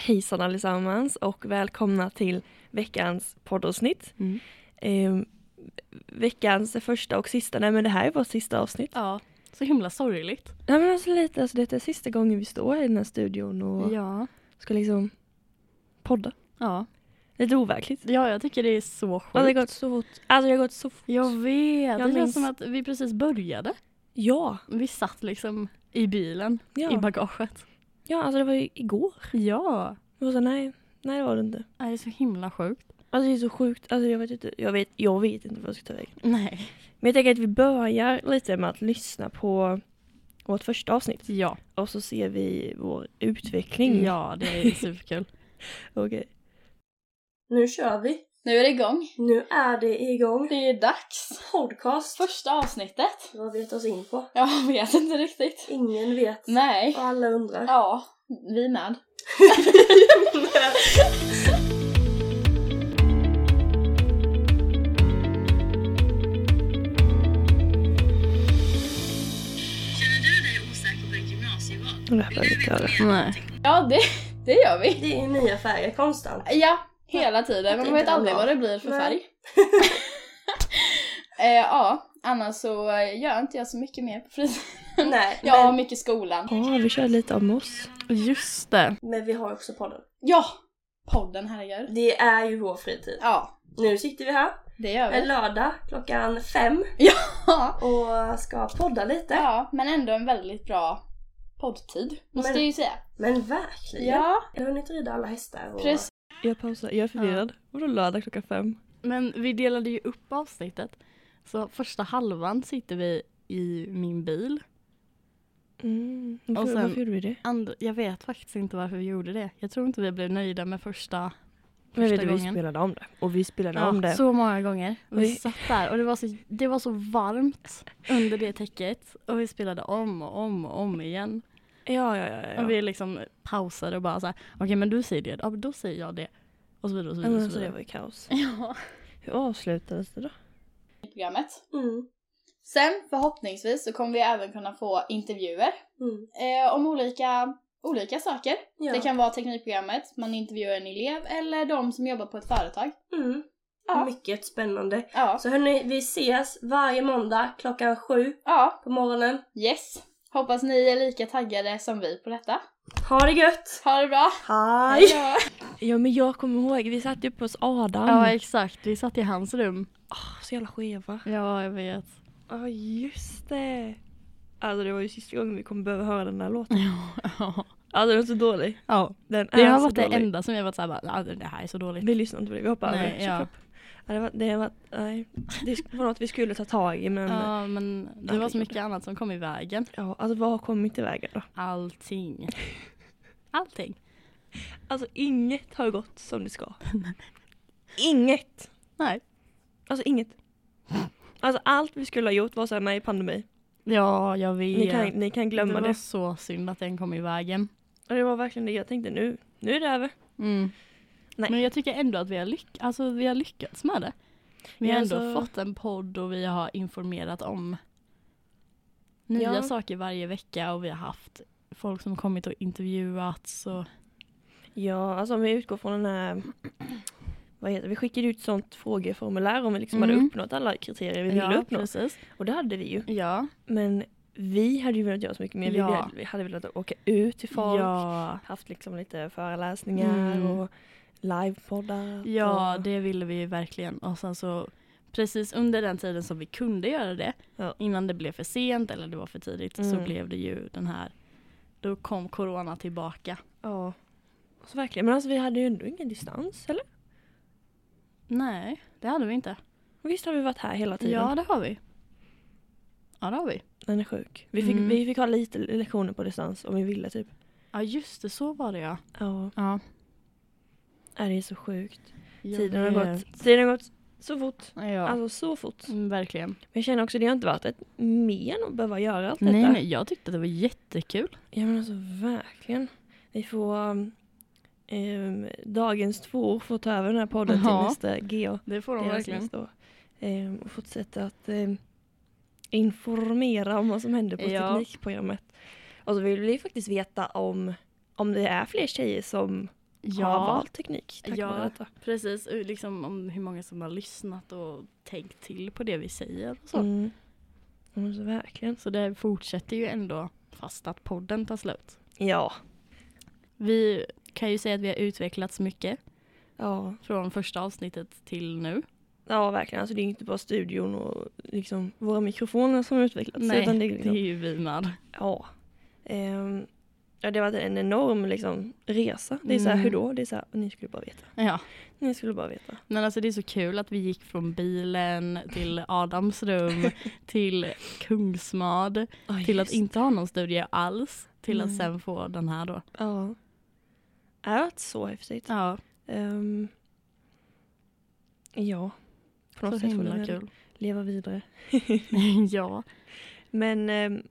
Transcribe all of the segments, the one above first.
hejsan allesammans och välkomna till veckans poddavsnitt. Mm. Ehm, veckans första och sista, nej men det här är vårt sista avsnitt. Ja, så himla sorgligt. Nej men alltså lite, alltså det är sista gången vi står här i den här studion och Ja. ska liksom podda. Ja. Lite overkligt. ja, jag tycker det är så sjukt. Ja, det har gått så fort. Alltså det har gått så fort. Jag vet, det minns- känns som att vi precis började. Ja, Vi satt liksom i bilen, i ja. bagaget. ja alltså det var ju igår. Ja. Det var så, nej, nej det var det inte. Nej, Det är så himla sjukt. Alltså det är så sjukt, alltså jag vet inte, jag vet, jag vet inte vad jag ska ta vägen. Nej. Men jag tänker att vi börjar lite med att lyssna på vårt första avsnitt. Ja. Och så ser vi vår utveckling. Ja, det är superkul. Okej. Nu kör vi. nu är det igång. Nu är det igång. Det är dags. Podcast. Första avsnittet. Vad vet oss in på? Jag vet inte riktigt. Ingen vet. Nej. Och alla undrar. Ja, vi med. Och det här behöver vi inte höra. Nej. Ja, det, det gör vi. Det är nya färger konstant. Ja, hela tiden. Man Det vet kan aldrig vara. vad det blir för Nej. färg. eh, ja, annars så eh, gör inte jag så mycket mer på fritiden. Nej, Jag har men, mycket skolan. Ja, vi kör lite om oss. Just det. men vi har också podden. Ja! Podden, herregud. Det är ju vår fritid. Ja, Nu sitter vi här det gör en vi. lördag klockan fem Ja. och ska podda lite. ja, men ändå en väldigt bra poddtid, måste Men- jag ju säga. Men verkligen! Ja, Jag har hunnit rida alla hästar och... precis. Jag pausar, jag är förvirrad. Vadå lördag klockan fem? Men vi delade ju upp avsnittet. Så första halvan sitter vi i min bil. Mm. Varför, Och sen- varför gjorde vi det? And, jag vet faktiskt inte varför vi gjorde det. Jag tror inte vi blev nöjda med första, Men jag vet, första vi gången. spelade om det. Och vi spelade Ja, om det. så många gånger. Och vi Oj. satt där och det var, så, det var så varmt under det täcket. Och vi spelade om och om och om igen. Ja, ja, ja. ja. Och vi liksom pausade och bara så här, okej men du säger det, ja men då säger jag det. Och så vidare och ja så men vidare. Och alltså så det vidare. var ju kaos. Ja. Hur avslutades det då? programmet. Mm, Sen förhoppningsvis så kommer vi även kunna få intervjuer mm, eh, om olika, olika saker. ja. Det kan vara Teknikprogrammet, man intervjuar en elev eller de som jobbar på ett företag. mm. Ja. Mycket spännande. Ja. Så hörni, vi ses varje måndag klockan sju ja. på morgonen. Yes. Hoppas ni är lika taggade som vi på detta. Ha det gött! Ha det bra! Hej! då. Ja men jag kommer ihåg, vi satt ju på oss Adam. ja exakt, vi satt i hans rum. Åh, så jävla skeva. Ja jag vet. Ja just det. Alltså det var ju sista gången vi kommer behöva höra den här låten. Ja. Alltså den är så dålig. ja. Den är Det har så varit det dålig. enda som jag varit såhär bara, "Ah, det här är så dåligt. Vi lyssnar inte på det, vi hoppar Nej, över. Så ja. kropp. Ja, det, var, det, var, nej. det var något vi skulle ta tag i men ja. Ja men Mm. det var så mycket annat som kom i vägen. alltså vad har kommit i vägen då? Allting. Allting. Alltså inget har gått som det ska. inget! Nej. Alltså inget. Alltså allt vi skulle ha gjort var såhär, nej pandemi. Ja jag vet. Ni kan, ni kan glömma det var det. så synd att den kom i vägen. Och det var verkligen det jag tänkte nu. Nu är det över. Mm. Nej. Men jag tycker ändå att vi har, lyck- alltså, vi har lyckats med det. Vi har Ja, ändå alltså- fått en podd och vi har informerat om nya Ja. saker varje vecka och vi har haft folk som kommit och intervjuats och Ja, alltså om vi utgår från den här vad heter, det? vi skickade ut sånt frågeformulär om vi liksom hade Mm. uppnått alla kriterier vi ville uppnå. precis. Och det hade vi ju. Ja. Men vi hade ju velat göra så mycket mer. Vi, Ja. hade, vi hade velat åka ut till folk, Ja. haft liksom lite föreläsningar Mm. och livepoddar. Ja, och, det ville vi ju verkligen. Och sen så precis under den tiden som vi kunde göra det, Ja. innan det blev för sent eller det var för tidigt, så Mm. blev det ju den här, då kom corona tillbaka. ja. Så verkligen. Men alltså vi hade ju ändå ingen distans, eller? Nej, det hade vi inte. Visst har vi varit här hela tiden? Ja, det har vi. Ja, det har vi. Den är sjuk. Vi fick, Mm. vi fick ha lite lektioner på distans om vi ville typ. Ja, just det, så var det ja. Ja, ja är det är så sjukt. jag Tiden har, vet. gått, tiden har gått så fort. Ja, Alltså så fort. mm, verkligen. Men jag känner också att det har inte varit ett men att behöva göra allt Nej, detta. nej, jag tyckte det var jättekul. Ja men alltså verkligen. Vi får um, ehm, dagens två år får ta över den här podden Ja. till nästa GA. Det får deras nästa år. Ehm, och fortsätta att ehm, informera om vad som händer på Ja. Teknikprogrammet. Och så vill vi faktiskt veta om, om det är fler tjejer som har Ja, valt teknik tack Ja. vare detta. precis. Och Liksom om hur många som har lyssnat och tänkt till på det vi säger och så. Mm. Ja, men så verkligen. Så det fortsätter ju ändå fast att podden tar slut. Ja. Vi kan ju säga att vi har utvecklats mycket Ja. från första avsnittet till nu. ja, verkligen. Alltså det är inte bara studion och liksom våra mikrofoner som har utvecklats. utan det är liksom, ju vi med. ja. Ehm, ja, det har varit en enorm liksom, resa. Det är så här, Mm. hur då? Det är så här, ni skulle bara veta. Ja. Ni skulle bara veta. Men alltså det är så kul att vi gick från bilen till Adams rum till Kungsmad till att inte ha någon studie alls till att Nej. sen få den här då. Ja. Det har varit så häftigt. Ja, Ehm, ja. På så något sätt får himla den kul. leva vidare. ja, Men, ehm,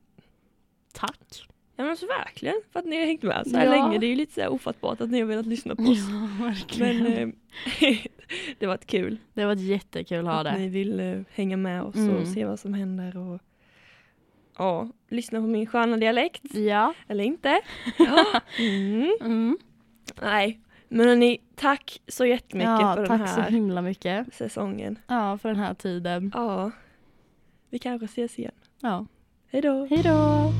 tack. ja men så verkligen för att ni har hängt med så här Ja. länge. Det är ju lite så här ofattbart att ni har velat lyssna på oss. Ja, verkligen. Men ehm, det har varit kul det har varit jättekul att ha att det. ni vill eh, hänga med oss Mm. och se vad som händer och ja, lyssna på min sköna dialekt Ja. eller inte. Ja. Mm. Mm. Nej, men hörni, tack så jättemycket ja för den tack så här himla mycket. säsongen. Ja, för den här tiden. Ja, vi kanske ses igen. Ja. Hej då! Hej då!